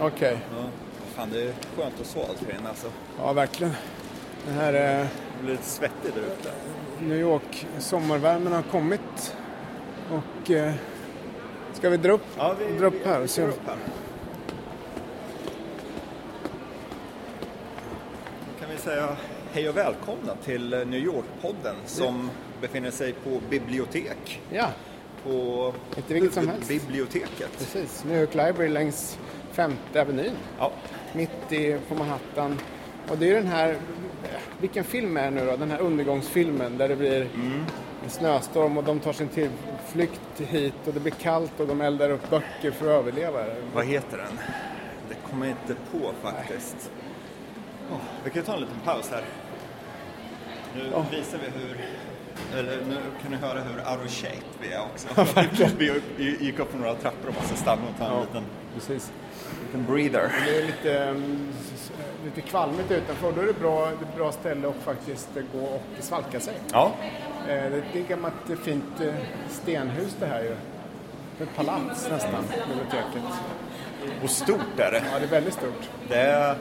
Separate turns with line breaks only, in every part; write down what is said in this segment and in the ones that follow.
Okej,
Ja. Fan, det är skönt att sova till in, alltså.
ja verkligen. Det här är
Det blir lite svettigt där ute.
New York. Sommarvärmen har kommit. Och eh, ska vi dra upp,
Ja, vi-
dra upp här och se?
Går upp här. Då kan vi säga hej och välkomna till eh, New York-podden som befinner sig på bibliotek.
Ja,
På
Inte vilket som helst.
biblioteket.
precis. New York Library längs Femte Avenyn.
Ja.
mitt i, på Manhattan. Och det är ju den här, eh, vilken film är det nu då? Den här undergångsfilmen där det blir
Mm.
en snöstorm och de tar sin tillflykt hit och det blir kallt och de eldar upp böcker för att överleva.
Vad heter den? Det kommer jag inte på faktiskt. Åh, vi kan ju ta en liten paus här. Nu visar vi hur, eller nu kan ni höra hur out of shape vi är också. vi gick upp några trappor och måste stanna och ta en liten,
Precis.
liten breather.
Det är lite, mm, s- lite kvalmigt utanför och då är det bra, det är ett bra ställe att faktiskt gå och svalka sig.
Ja,
Eh, Det är ett gammalt eh, fint eh, stenhus det här ju. Ett palats nästan, biblioteket.
och stort är det.
Ja, det är väldigt stort.
Det är,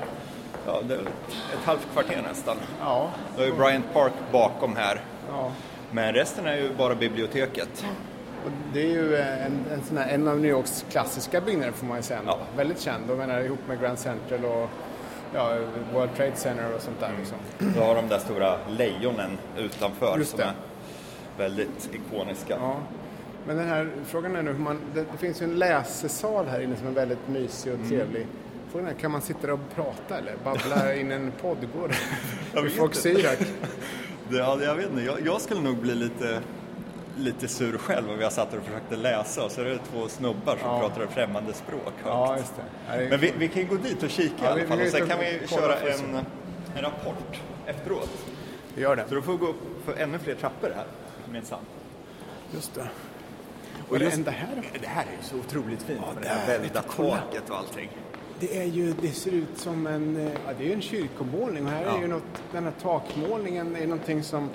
ja, det är ett halvt kvarter nästan.
Ja,
Då är ju Bryant Park bakom här.
ja.
Men resten är ju bara biblioteket.
Och det är ju eh, en, en, sån här, en av New Yorks klassiska byggnader får man ju säga.
Ja.
Väldigt känd, och menar ihop med Grand Central och ja, World Trade Center och sånt där. Liksom.
Du har de där stora lejonen utanför
Just
som
det.
är väldigt ikoniska.
Ja. Men den här frågan är nu hur man, det, det finns ju en läsesal här inne som är väldigt mysig och trevlig. Frågan är, kan man sitta där och prata eller babbla in en poddgård?
Jag vet
Folk
inte.
Syrak.
Det, ja, det- jag vet inte, jag, jag skulle nog bli lite, lite sur själv om jag satt där och försökte läsa och så är det två snubbar som
Ja.
pratade främmande språk högt.
Ja, just det. Ja, det. är-
Men vi, vi kan ju gå dit och kika
Ja,
i
vi-
alla fall
vi
och sen
vet
kan
att-
vi
kolla
köra
först.
en, en rapport efteråt.
Vi gör det.
Så då får vi gå upp för ännu fler trappor här minsann.
Just det.
Och
Och det
just-
enda här då?
Det här är ju så otroligt fint med
där,
det här väldiga
kolla.
taket och allting.
Det är ju, det ser ut som en, eh, ja det är ju en kyrkomålning och här är
Ja.
ju något, den här takmålningen är någonting som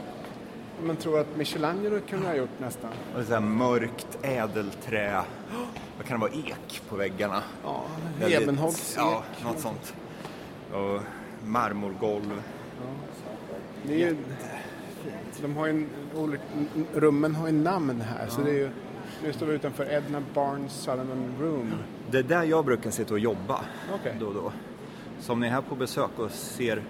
man tror att Michelangelo kunde ha gjort nästan.
Och så här mörkt ädelträ. Vad kan det vara? Ek på väggarna.
Ja,
Väldigt-
Ebenholts
Ja, något sånt. Och marmorgolv.
Det är ju, de har ju, en, olika- n- rummen har ju namn här så det är ju, nu står vi utanför Edna Barnes Solomon Room.
Det är där jag brukar sitta och jobba
Okej.
då och då. Så om ni är här på besök och ser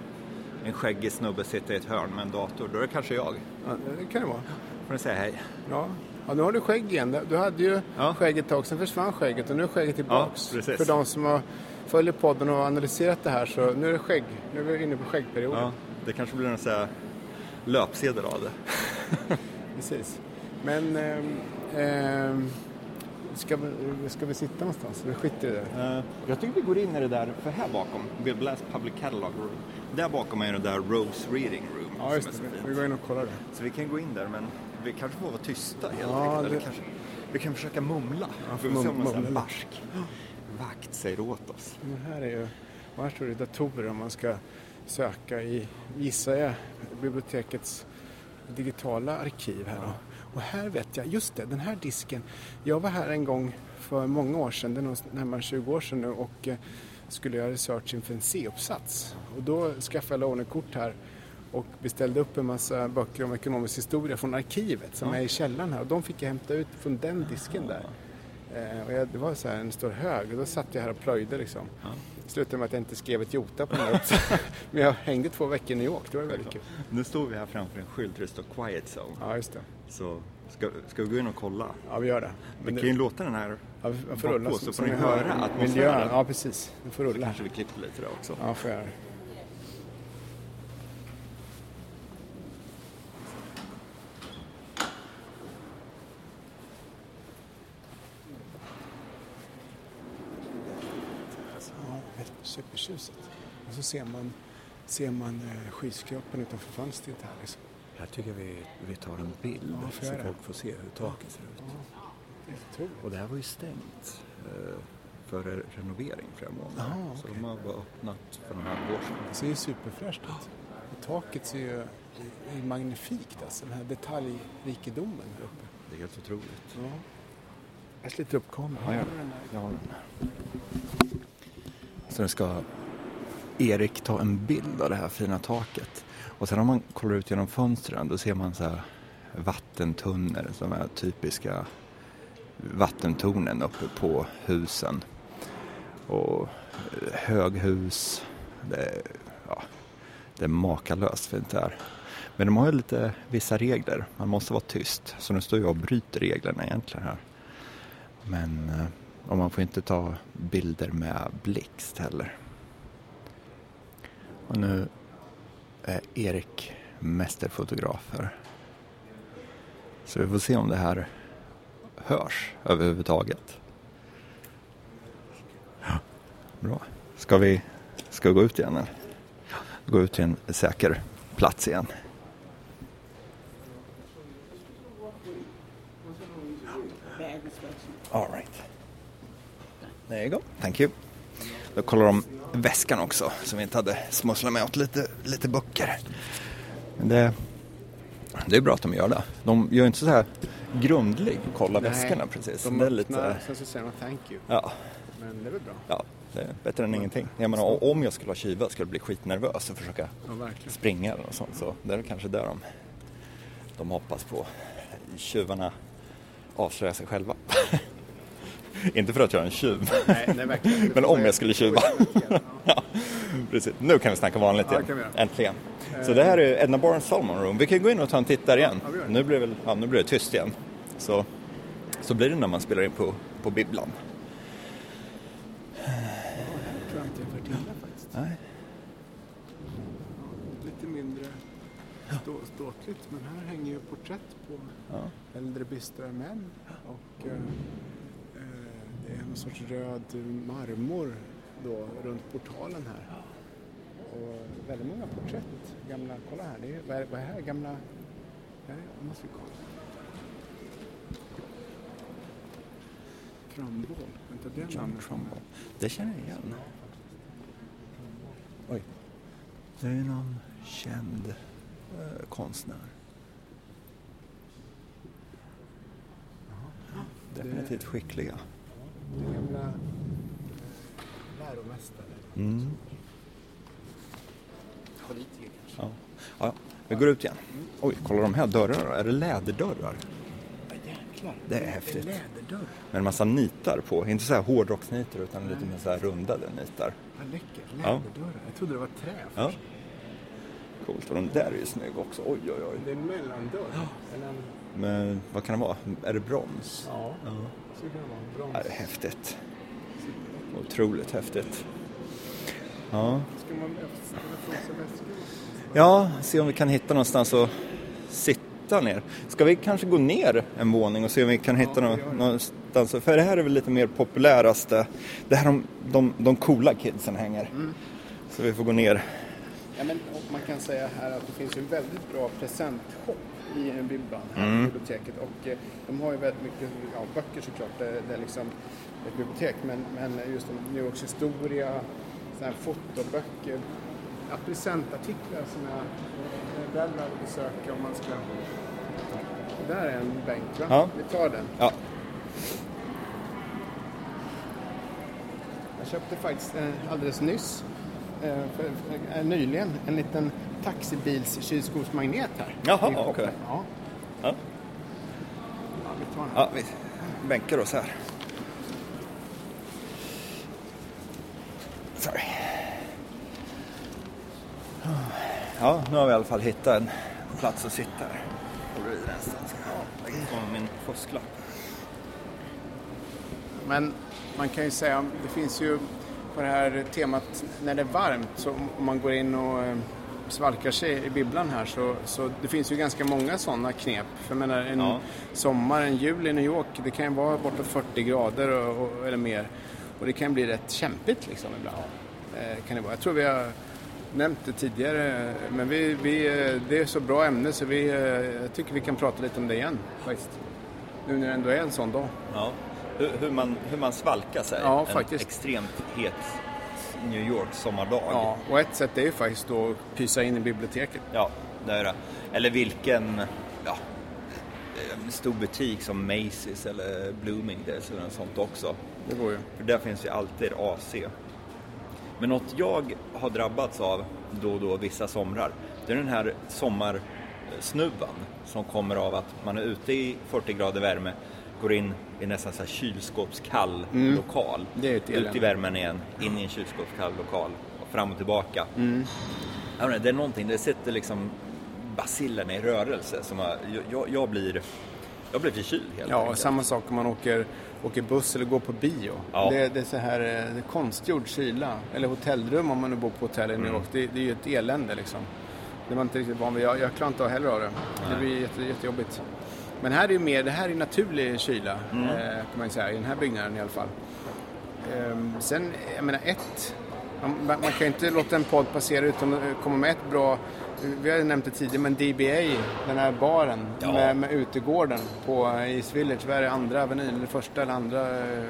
en skäggig snubbe sitta i ett hörn med en dator, då är det kanske jag.
Ja, det kan det vara.
får ni säga hej.
Ja. ja, nu har du skägg igen. Du hade ju
Ja.
skägget ett tag, sen försvann skägget och nu är skägget tillbaks.
Ja, precis.
För de som har följer podden och har analyserat det här så nu är det skägg. Nu är vi inne på skäggperioden.
Ja, det kanske blir en sån här löpsedel av det.
Precis. Men ehm, ehm, ska, vi, ska vi sitta någonstans? Vi skiter i det.
Eh, Jag tycker vi går in i det där, för här bakom, Bill Blast Public Catalog Room, där bakom är det där Rose Reading Room
Ja, just
som är så
det.
fint.
Vi går in och kollar det.
Så vi kan gå in där, men vi kanske får vara tysta helt
Ja,
enkelt. Eller
det-
kanske, vi kan försöka mumla. Ja,
för
vi får se
mum-
om någon sån här
mumla.
barsk vakt säger åt oss.
Men här är ju, och här står det datorer om man ska söka i, gissar jag, bibliotekets digitala arkiv här då. Och här vet jag, just det, den här disken. Jag var här en gång för många år sedan, det är nog närmare 20 år sedan nu och eh, skulle göra research inför en C-uppsats. Och då skaffade jag lånekort här och beställde upp en massa böcker om ekonomisk historia från arkivet som är i källaren här och de fick jag hämta ut från den disken där. Eh, och jag, det var så här en stor hög och då satt jag här och plöjde liksom. Slutade med att jag inte skrev ett jota på den här uppsatsen. Men jag hängde två veckor i New York, det var väldigt kul.
Nu står vi här framför en skylt där det står Quiet Zone.
Ja, just det.
Så ska, ska vi gå in och kolla?
Ja, vi gör det.
Vi kan ju låta den här
Ja, vi får rulla
på,
som-
så får
som
ni
vi
höra
hör.
atmosfären.
Miljön, ja precis. Den får rulla.
Kanske vi klipper lite där också.
Ja, får jag göra. Ja, supertjusigt. Och så ser man, ser man eh, skyskrapan utanför fönstret här liksom.
Här tycker jag vi, vi tar en bild
Ja, får
så
jag det?
folk får se hur taket ser ut.
Otroligt.
Och det här var ju stängt eh,
för re- renovering flera månader.
Jaha,
Så
okej.
de har bara öppnat för några halvår sedan.
Det ser ju superfräscht ut. Och taket ser ju är ju magnifikt alltså, den här detaljrikedomen där uppe.
Det är helt otroligt.
Ja. Jag sliter upp kameran.
Ja, ja. Jag har den. Så nu ska Erik ta en bild av det här fina taket. Och sen om man kollar ut genom fönstren då ser man så här vattentunnor, de här typiska vattentornen uppe på husen. Och eh, höghus. Det är, ja, det är makalöst fint det här. Men de har ju lite vissa regler. Man måste vara tyst. Så nu står jag och bryter reglerna egentligen här. Men eh, och man får inte ta bilder med blixt heller. Och nu är Erik mästerfotograf här. Så vi får se om det här hörs överhuvudtaget. Ja, Bra. Ska vi, ska vi gå ut igen eller? Gå ut till en säker plats igen. All right. There you go. Thank you. Då kollar de väskan också som vi inte hade smusslat med åt lite, lite böcker. Men det, det är bra att de gör det. De gör inte så här grundlig kolla väskorna precis.
De
det är
öppnar,
lite,
sen så säger de thank you.
ja,
Men det är väl bra.
ja, det är bättre än ingenting. Jag menar, om jag skulle ha kyva skulle jag bli skitnervös och försöka
Ja, verkligen.
springa eller något sånt. Så det är väl kanske där de, de hoppas på. Tjuvarna avslöjar sig själva. Inte för att jag är en tjuv,
Nej, nej, verkligen. Det
men
får
om
man-
jag skulle tjuva. ja, precis. Nu kan vi snacka vanligt
Ja, det kan
igen.
vi göra. Eh.
Äntligen. Så det här är Edna Barnes Salmon Room. Vi kan gå in och ta en titt där igen.
ja, vi gör det.
Nu blir, väl, ja, nu blir det tyst igen. Så, så blir det när man spelar in på, på bibblan.
Jag tror inte jag får till det faktiskt.
Nej.
Lite mindre stå, ståtligt. Men här hänger ju porträtt på
Ja.
äldre bistra män. Och eh, eh, det är någon sorts röd marmor då runt portalen här. Och väldigt många porträtt. Gamla, kolla här, det är, vad, är, vad är här? Gamla... Här är, måste vi kolla. Trumboll, vänta det är
John
namnet.
Trumbull. Det känner jag igen. Oj. Det är någon känd eh, konstnär. Definitivt skickliga.
Den gamla eh, läromästare.
Mm.
Politiker kanske.
Ja. Ja, vi går ut igen. Oj, kolla de här dörrarna. Är det läderdörrar?
Ja, jäklar.
Det är häftigt.
Läderdörr.
Med en massa nitar på. Inte så här hårdrocksnitar utan lite mer så här rundade nitar.
Vad läckert.
Ja.
Läderdörrar. Jag trodde det var trä först.
Ja. Coolt. Och de där är ju snygga också. Oj, oj, oj.
Det är en mellandörr. Eller en...
Men vad kan det vara? Är det brons?
Ja.
Ja.
Så kan det vara. En
Ja,
brons.
det är häftigt. Otroligt häftigt. Ja.
Ska man ställa på sig väskor?
ja, se om vi kan hitta någonstans att sitta ner. Ska vi kanske gå ner en våning och se om vi kan hitta
vi
nå-
gör det.
någonstans? För det här är väl lite mer populäraste. Det här de, de, de coola kidsen hänger. Så vi får gå ner.
Ja, men, och man kan säga här att det finns ju en väldigt bra presentshop i en bibblan här på biblioteket. Och eh, de har ju väldigt mycket ja, böcker såklart. Det, det är liksom ett bibliotek. Men, men just om New Yorks historia, såna här fotoböcker. Ja, presentartiklar som jag eh, väl behöver besöka om man ska... Där är en bänk va?
Ja.
Vi tar den.
Ja,
Jag köpte faktiskt eh, alldeles nyss, eh, för, för, eh, nyligen, en liten taxibils kylskåpsmagnet här.
Jaha,
I shoppen.
okej.
Ja.
Ja.
Ja, vi tar den.
ja vi bänkar oss här. Sorry. Ja, nu har vi i alla fall hittat en plats att sitta här. Håller i den stans. Jag lägger ifrån min fusklapp.
Men man kan ju säga, det finns ju på det här temat när det är varmt, så om- om man går in och eh, svalkar sig i bibblan här så, så det finns ju ganska många sådana knep. För jag menar en
Ja.
sommar, en jul i New York, det kan ju vara bortåt 40 grader och, och, eller mer. Och det kan bli rätt kämpigt liksom ibland. Eh, kan det vara. Jag tror vi har nämnt det tidigare, men vi, vi, eh, det är så bra ämne så vi, eh, jag tycker vi kan prata lite om det igen faktiskt. Nu när det ändå är en sån dag.
Ja. Hur, hur, man, hur man svalkar sig
Ja,
en
faktiskt.
extremt het New York sommardag.
Ja, och ett sätt är ju faktiskt då att pysa in i biblioteket.
Ja, det är det. Eller vilken ja, eh, stor butik som Macy's eller Bloomingdale's eller något sånt också.
Det går ju.
För där finns ju alltid AC. Men något jag har drabbats av då och då vissa somrar, det är den här sommarsnuvan som kommer av att man är ute i 40 grader värme, går in i nästan så här kylskåpskall lokal.
Mm. Det är ett
ut i
elände.
värmen igen, in i en kylskåpskall lokal och fram och tillbaka.
Mm.
Jag vet inte, det är någonting, det sitter liksom bacillerna i rörelse. Som har, jag, jag, blir, jag blir förkyld helt
Ja, och
enkelt.
samma sak om man åker, åker buss eller går på bio.
Ja.
Det, det är så här eh, det är konstgjord kyla. Eller hotellrum om man nu bor på hotell i
Mm.
New York. Det, det är ju ett elände liksom. Det var inte riktigt van vid. Jag, jag klarar inte av heller av det. Det blir jätte, jättejobbigt. Men här är ju mer, det här är naturlig kyla.
Mm.
Eh, kan man ju säga, i den här byggnaden i alla fall. Ehm, sen, jag menar ett. Man, man man kan ju inte låta en podd passera utan att eh, komma med ett bra, vi har ju nämnt det tidigare, men DBA, den här baren
Ja.
med, med utegården på eh, East Village, vad är det, andra avenyn eller första eller andra? eh,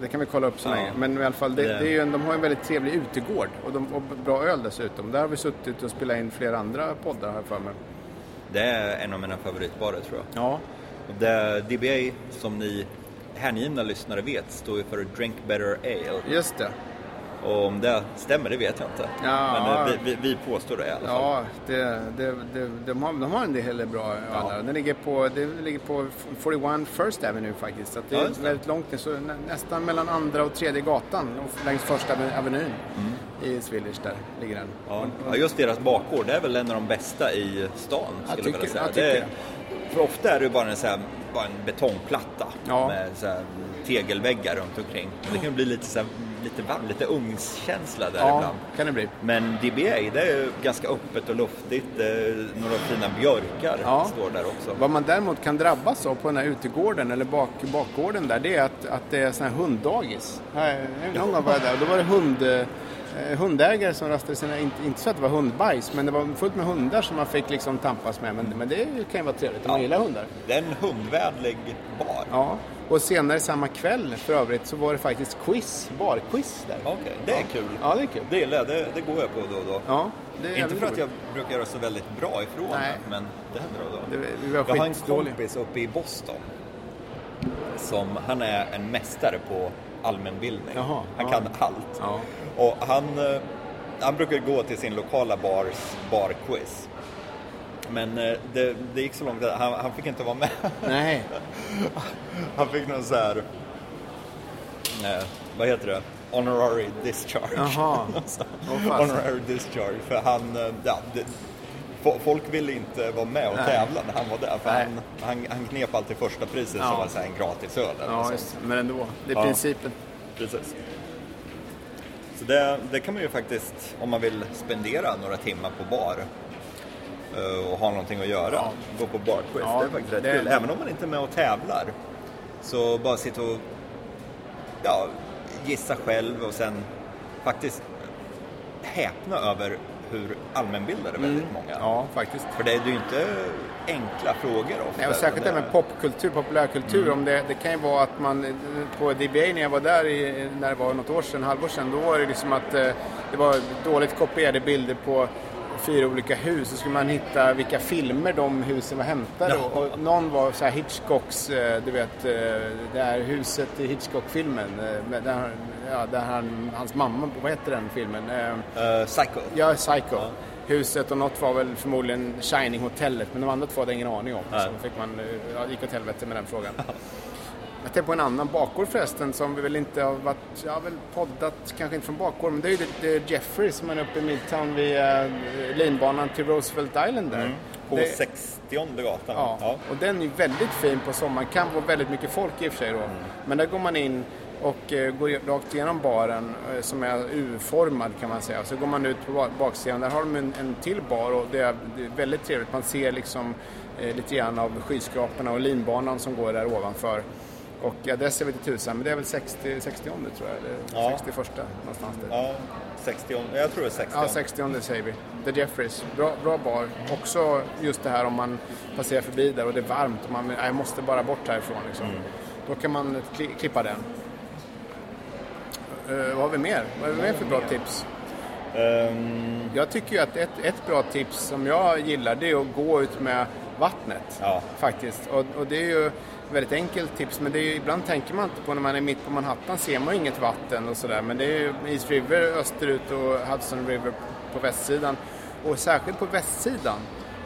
Det kan vi kolla upp så
Ja.
länge. Men i alla fall, det,
Det-
det är ju, en- de har ju en väldigt trevlig utegård och, de, och bra öl dessutom. Där har vi suttit och spelat in flera andra poddar har jag för mig.
Det är en av mina favoritbarer tror jag.
Ja,
Och Det DBA, som ni hängivna lyssnare vet, står ju för Drink Better Ale.
just det.
Och om det stämmer, det vet jag inte.
Ja.
Men eh, vi, vi, vi påstår det i alla fall.
Ja, det, det, det, de, har, de har en del bra ölar. Den ligger på, det ligger på 41 First Avenue faktiskt. Så att det
Ja,
är
just det.
väldigt långt ner, så nä, nästan mellan andra och tredje gatan och längs första aven- avenyn i Swedish där ligger den.
Mm. Ja. Ja, just deras bakgård, det är väl en av de bästa i stan, skulle jag
tycker-
vilja säga.
jag tycker
Det är, för ofta är det ju bara en, så här, bara en betongplatta
Ja.
med så här, tegelväggar runt omkring. Men det kan ju bli lite, så här, lite varmt, lite ugnskänsla där
Ja,
ibland.
kan det bli.
Men DBA, det är ju ganska öppet och luftigt. Det är Några fina björkar
Ja.
står där också.
Vad man däremot kan drabbas av på den här utegården eller bak, bakgården där, det är att, att det är sån här hunddagis. Här- Någon gång var jag där och då var det hund, eh, hundägare som rastade sina, inte, inte så att det var hundbajs, men det var fullt med hundar som man fick liksom tampas med. Men, men det kan ju vara trevligt om man
Ja.
gillar hundar.
Det är en hundvänlig bar.
Ja. Och senare samma kväll för övrigt så var det faktiskt quiz, barquiz där.
Okej, det är kul.
Ja, det är kul.
Det gillar jag, det, det går jag på då och då.
Ja, det är
Inte
jävligt
för att
roligt.
jag brukar göra så väldigt bra ifrån
Nej.
det, men det händer då och då.
Det- vi var
jag har en
skitdåliga.
kompis uppe i Boston. Som, han är en mästare på allmänbildning.
Jaha,
han
ja.
kan allt.
Ja.
Och han, eh, han brukar gå till sin lokala bars barquiz. Men eh, det, det gick så långt att han, han fick inte vara med.
Nej,
Han fick någon så här... Eh, vad heter det? Honorary discharge.
Jaha.
Alltså,
Åh, fasen.
Honorary discharge. För han... eh, Ja, det, fo- folk ville inte vara med och
Nej.
tävla när han var där. För
Nej.
han, han, han knep alltid första priset
Ja.
som var så här en gratis öl. eller
ja,
så.
just, men ändå. Det är
Ja.
principen.
Precis. Så det, det kan man ju faktiskt, om man vill spendera några timmar på bar eh, och ha någonting att göra,
Ja.
gå på barquiz.
Ja,
det är faktiskt rätt
det-
kul. Även om man inte är med och tävlar, så bara sitta och ja, gissa själv och sen faktiskt häpna över hur allmänbildade väldigt många är.
Mm. Ja, faktiskt.
För det är ju inte enkla frågor ofta.
Nej, och särskilt det här med popkultur, populärkultur. Om det, det kan ju vara att man eh, på DBA när jag var där i, när det var något år sedan, halvår sedan, då var det liksom att eh, det var dåligt kopierade bilder på fyra olika hus. Så skulle man hitta vilka filmer de husen var hämtade
Ja.
och, och någon var så här Hitchcocks, eh, du vet, eh, det här huset i Hitchcock-filmen. eh, med- Där, ja, där han, hans mamma, vad heter den filmen? Eh,
Eh, Psycho.
Ja, Psycho. Huset och något var väl förmodligen Shining-hotellet, men de andra två hade jag ingen aning om.
Nej.
Så fick man, eh, ja, det gick åt helvete med den frågan. Jag tänkte på en annan bakgård förresten som vi väl inte har varit, jag har väl poddat, kanske inte från bakgården, men det är ju det, det är Jeffrey som är uppe i Midtown vid eh, linbanan till Roosevelt Island där.
Mm. På
Det-
60 gatan.
Ja.
Ja.
och den är ju väldigt fin på sommaren. Kan vara väldigt mycket folk i och för sig då.
Mm.
Men där går man in och eh, går i- rakt igenom baren eh, som är U-formad kan man säga. Så går man ut på ba- baksidan. Där har de en, en till bar och det är, det är väldigt trevligt. Man ser liksom eh, lite grann av skyskraporna och linbanan som går där ovanför. Och adress är väl inte tusan, men det är väl 60, 60 tror jag, eller
Ja.
61 någonstans där.
Ja, 60, jag tror det är 60.
Ja, 60 säger vi. The Jeffreys. Bra, bra bar. Också just det här om man passerar förbi där och det är varmt och man vill, "Nej, jag måste bara bort härifrån liksom. Då kan man kli- klippa den. Eh, vad har vi mer? Vad har vi mer för bra tips?
Ehm,
Jag tycker ju att ett, ett bra tips som jag gillar det är att gå ut med vattnet.
Ja.
Faktiskt. Och, och det är ju ett väldigt enkelt tips men det är ju, ibland tänker man inte på när man är mitt på Manhattan ser man ju inget vatten och sådär. Men det är ju East River österut och Hudson River på västsidan. Och särskilt på västsidan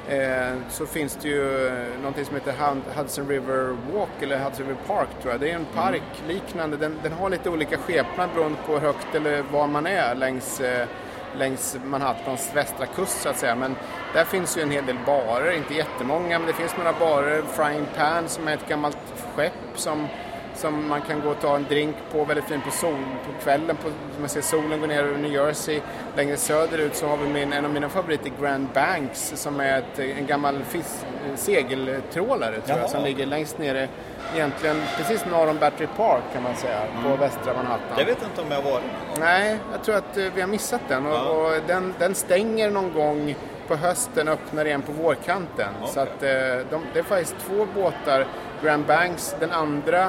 eh, så finns det ju eh, någonting som heter Hud- Hudson River Walk eller Hudson River Park tror jag. Det är en park liknande. Den, den har lite olika skepnad beroende på hur högt eller var man är längs eh, längs Manhattans västra kust så att säga. Men där finns ju en hel del barer, inte jättemånga, men det finns några barer. Frying Pan som är ett gammalt skepp som, som man kan gå och ta en drink på, väldigt fin på, sol, på kvällen. På, man ser solen gå ner över New Jersey. Längre söderut så har vi min, en av mina favoriter, Grand Banks, som är ett, en gammal fisk, segeltrålare tror
Jaha.
jag, som ligger längst nere, egentligen precis norr om Battery Park kan man säga, på västra Manhattan.
jag vet inte om jag var det.
Nej, jag tror att eh, vi har missat den. Och,
Ja.
och den, den stänger någon gång på hösten och öppnar igen på vårkanten. Så
Okej.
att, eh, de, det är faktiskt två båtar. Grand Banks, den andra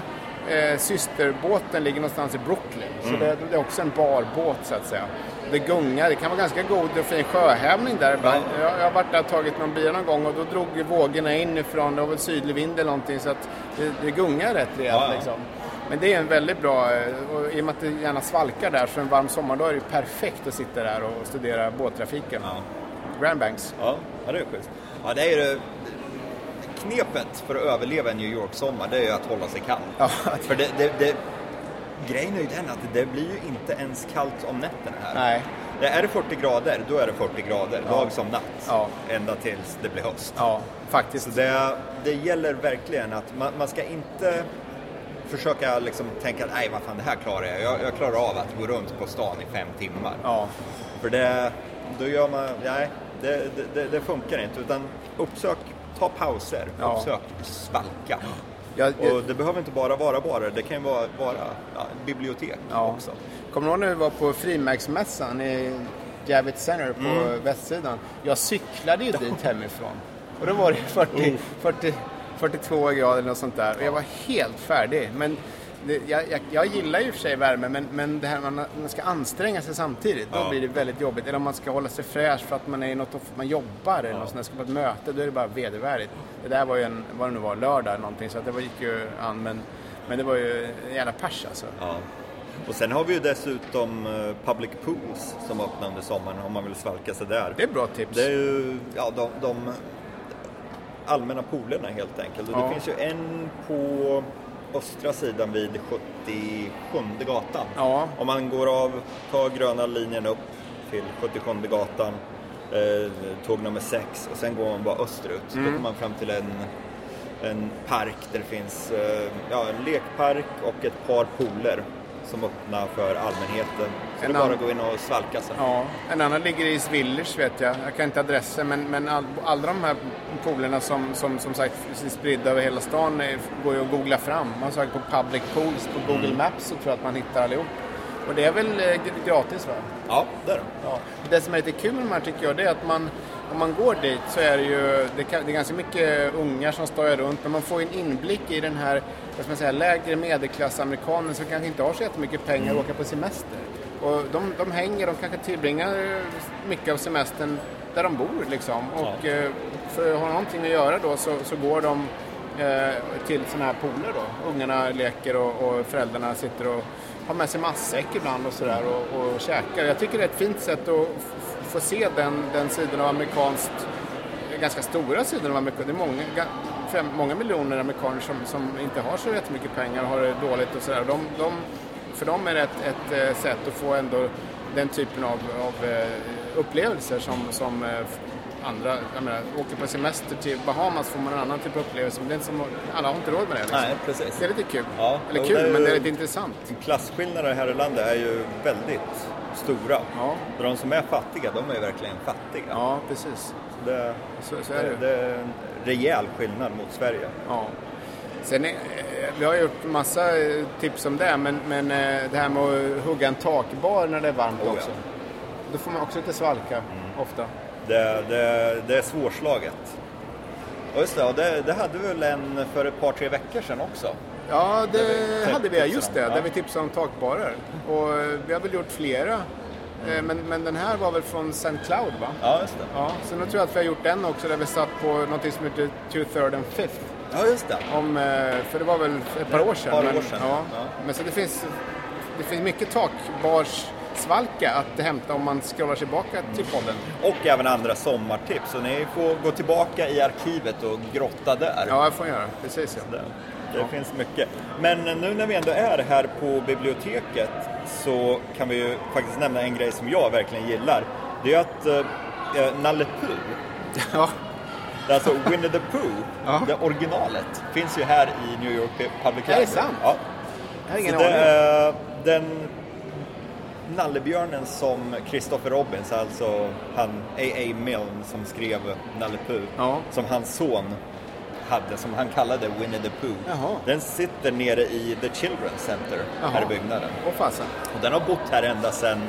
eh, systerbåten ligger någonstans i Brooklyn.
Mm.
Så det, det är också en barbåt så att säga. Det gungar, det kan vara ganska god och fin sjöhävning där ibland.
Ja.
Jag, jag har varit där och tagit någon bira någon gång och då drog ju vågorna inifrån. Det var väl sydlig vind eller någonting så att det, det gungar rätt rejält.
Ja, ja.
Liksom. Men det är en väldigt bra, eh, och i och med att det gärna svalkar där så en varm sommardag är det ju perfekt att sitta där och studera båttrafiken.
Ja.
Grand Banks.
Ja, ja det är schysst. Ja, det är ju det. Knepet för att överleva en New York-sommar, det är ju att hålla sig kall.
Ja.
För det, det, det, grejen är ju den att det blir ju inte ens kallt om nätterna här.
Nej.
Det är det 40 grader, då är det 40 grader, dag som natt.
Ja.
Ända tills det blir höst.
Ja, faktiskt.
Så det, det gäller verkligen att man, man ska inte försöka liksom tänka nej vad fan det här klarar jag. jag. Jag klarar av att gå runt på stan i fem timmar.
Ja.
För det, då gör man, nej, det, det- det, det funkar inte. Utan uppsök, ta pauser,
Ja.
uppsök, svalka.
Jag,
Och det behöver inte bara vara barer, det kan ju vara, vara ja, bibliotek
ja.
också.
Kommer du ihåg när vi var på frimärksmässan i Javits Center på
Mm.
västsidan? Jag cyklade ju dit hemifrån. Och då var det 40,
Oh.
40, 42 grader eller något sånt där. Och jag var helt färdig. Men det, jag, jag, jag gillar ju i och för sig värme, men, men det här man, man ska anstränga sig samtidigt, då
Ja.
blir det väldigt jobbigt. Eller om man ska hålla sig fräsch för att man är i något, off- man jobbar eller något sånt där, ska på ett möte, då är det bara vedervärdigt. Det där var ju en, vad det nu var, lördag eller någonting, så att det var- gick ju an. Men, men det var ju en jävla pers alltså.
Ja. Och sen har vi ju dessutom eh, public pools som öppnar under sommaren om man vill svalka sig där.
Det är bra tips.
Det är ju ja, de, de allmänna poolerna helt enkelt. Och
Ja.
det finns ju en på östra sidan vid 77 gatan.
Ja.
Om man går av, tar gröna linjen upp till 77 gatan, eh, tåg nummer 6 och sen går man bara österut.
Mm.
Då kommer man fram till en, en park där det finns eh, ja, en lekpark och ett par pooler som öppnar för allmänheten. Så
En
det är bara
annan-
att gå in och svalka sig.
Ja, en annan ligger i Swillers vet jag. Jag kan inte adressen men, men all, alla de här poolerna som, som, som sagt är spridda över hela stan är, går ju att googla fram. Man söker på public pools på Google Maps så tror jag att man hittar allihop. Och det är väl eh, g- gratis va?
Ja, där.
Ja. Det som är lite kul med de här tycker jag det är att man om man går dit så är det ju det, kan, det är ganska mycket ungar som står runt men man får ju en inblick i den här vad ska man säga, lägre medelklassamerikanen som kanske inte har så jättemycket pengar och åker på semester. Och de, de hänger, de kanske tillbringar eh, mycket av semestern där de bor liksom. Och eh, för att ha någonting att göra då så, så går de eh, till sådana här pooler då. Ungarna leker och, och föräldrarna sitter och har med sig matsäck ibland och sådär och, och käkar. Jag tycker det är ett fint sätt att f- få se den, den sidan av amerikanskt ganska stora sidan av Amerika. Det är många, ga- fem, många miljoner amerikaner som, som inte har så jättemycket pengar och har det dåligt och sådär. De, de, för dem är det ett, ett eh, sätt att få ändå den typen av, av eh, upplevelser som, som eh, f- andra, jag menar, åker på semester till Bahamas får man en annan typ av upplevelse. Men det är inte som, alla har inte råd med det. Liksom.
Nej, precis.
Det är lite kul.
Ja,
Eller
och
kul,
det är ju-
men det är lite intressant.
Klasskillnader här i landet är ju väldigt stora.
Ja.
De som är fattiga, de är ju verkligen fattiga.
Ja, precis.
Det,
Så, så är det.
det, det är en rejäl skillnad mot Sverige.
Ja. Sen är, eh, vi har gjort massa eh, tips om det, men, men eh, det här med att hugga en takbar när det är varmt
Oh, ja. Mm.
också. Då får man också lite svalka ofta.
Det, det, det är svårslaget. Och just det, och det, det hade vi väl en för ett par, tre veckor sedan också.
Ja,
Där vi
det
tipsade
hade vi. ja, Just
om,
det,
ja.
där vi tipsade om takbarer. Och eh, vi har väl gjort flera. Eh,
Mm.
Men, men den här var väl från St. Cloud, va?
Ja, just det.
Ja, så nu tror jag att vi har gjort en också där vi satt på någonting som heter Two Third and Fifth.
Ja, just det.
Om, eh, för det var väl ett par år sedan.
par
men,
år sedan,
Ja.
ja.
men så det finns, det finns mycket takbars-svalka att hämta om man scrollar tillbaka
Mm.
till podden.
Och även andra sommartips. Så ni får gå tillbaka i arkivet och grotta där.
Ja, det får jag göra. Precis ja.
Det, det finns mycket. Men nu när vi ändå är här på biblioteket så kan vi ju faktiskt nämna en grej som jag verkligen gillar. Det är att eh, Nalle Puh,
ja.
det är alltså Winnie the Pooh,
Ja.
det originalet, finns ju här i New York Public
Är
Library.
det sant?
Ja.
Jag har
Så
ingen
det
aning.
är eh, den nallebjörnen som Christopher Robbins, alltså han A.A. Milne som skrev Nalle Puh,
Ja.
som hans son hade, som han kallade Winnie the Pooh.
Jaha.
Den sitter nere i The Children's Center,
Jaha.
här i byggnaden.
Åh fasen.
Och den har bott här ända sedan,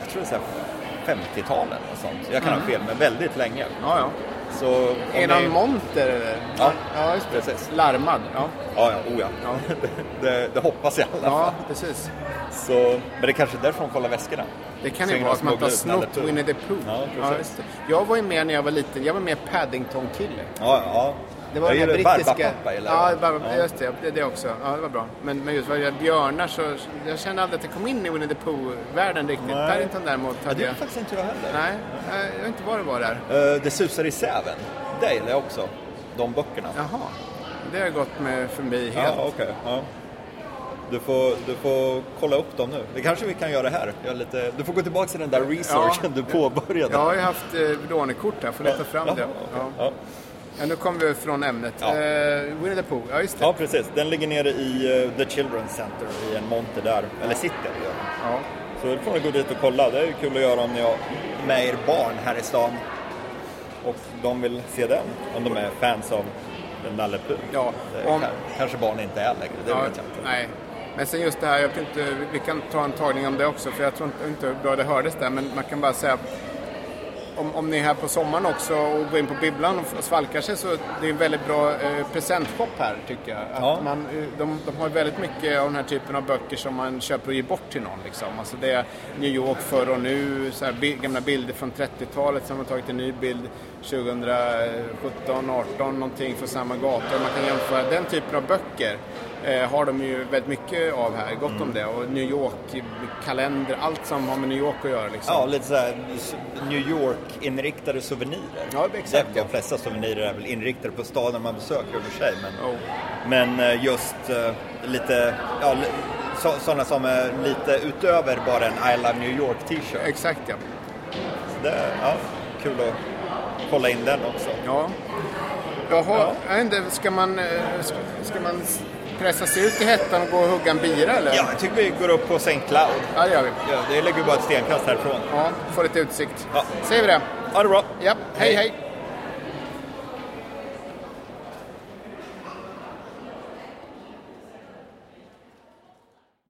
jag tror det är så här 50-talet och sånt. Jag
Mm.
kan ha fel, men väldigt länge.
Ja, ja.
Så om
Är det
ni-
någon monter eller?
Ja,
ja just det.
precis.
Larmad. Ja,
Ja, ja, oh ja.
Ja.
det, det hoppas jag i alla fall.
ja precis.
Så, men det är kanske är därför de kollar väskorna.
Det kan
Så
ju
ingen
vara
har
att man inte har
smugglat ut
snott
Nalle Puh.
Winnie the Pooh.
Ja, precis.
just det. jag var ju med när jag var liten. Jag var med Paddington-kille.
Ja, ja.
Det var
jag
den här
gillar
brittiska...
Barbapapa, gillar
ja,
jag.
Barba, just det. det- Det också. Ja, det var bra. Men, men just vad det gäller björnar så... Jag kände aldrig att jag kom in i Winnie the Pooh-världen riktigt.
Nej.
Paddington däremot
Ja,
hade
det är
jag...
faktiskt inte jag heller.
Nej, jag- jag vet inte vad det var där.
Eh, det susar i säven. Det gillar jag också. De böckerna.
Jaha. Det har jag gått med förbi
Ja,
helt.
okej. Ja. Du, får, du får kolla upp dem nu. Det kanske vi kan göra här. Jag är lite, du får gå tillbaka till den där researchen
Ja.
du påbörjade.
Jag har ju haft eh, lånekort här, får leta fram
Jaha,
det.
okej.
Ja.
Ja.
Ja, nu kom vi från ämnet.
Ja.
Eh, Winnie the Pooh, ja just det.
ja, precis. Den ligger nere i eh, The Children's Center i en monter där. Eller sitter, gör den.
Ja.
Så då får ni gå dit och kolla. Det är ju kul att göra om ni har med er barn här i stan. Och de vill se den, om de är fans av Nalle Puh.
Ja,
Det
om-
kan- Kanske barn inte är längre, det
Ja,
vet jag inte.
nej. Men sen just det här, jag tror inte, vi kan ta en tagning om det också för jag tror inte, inte hur bra det hördes där men man kan bara säga om, om ni är här på sommaren också och går in på bibblan och f- och svalkar sig så det är en väldigt bra eh, presentshop här tycker jag. Att
Ja.
man, eh, de, de har väldigt mycket av den här typen av böcker som man köper och ger bort till någon. Liksom. Alltså det är New York förr och nu, så här, bi- gamla bilder från 30-talet som har tagit en ny bild 2017, 18 någonting från samma gator. Man kan jämföra den typen av böcker. Eh, har de ju väldigt mycket av här, gott om det. Och New York, kalender, allt som har med New York att göra. Liksom.
Ja, lite såhär New York-inriktade souvenirer.
Ja, exakt,
De
ja.
flesta souvenirer är väl inriktade på staden man besöker i och för sig. Men,
Jo.
men eh, just eh, lite, ja, li- så, sådana som är lite utöver bara en I Love New York t-shirt.
Exakt ja.
Det- Ja, kul att kolla in den också.
Ja. Jaha,
Ja.
jag vet inte, ska man, eh, ska, ska man pressa sig ut i hettan och gå och hugga en bira eller?
Ja, jag tycker vi går upp på St. Cloud.
Ja, det gör vi.
Ja, det ligger ju bara ett stenkast härifrån.
Ja, får lite utsikt.
Ja.
Säger vi det?
Ha det bra!
Ja, hej hej!
Hej.
hej.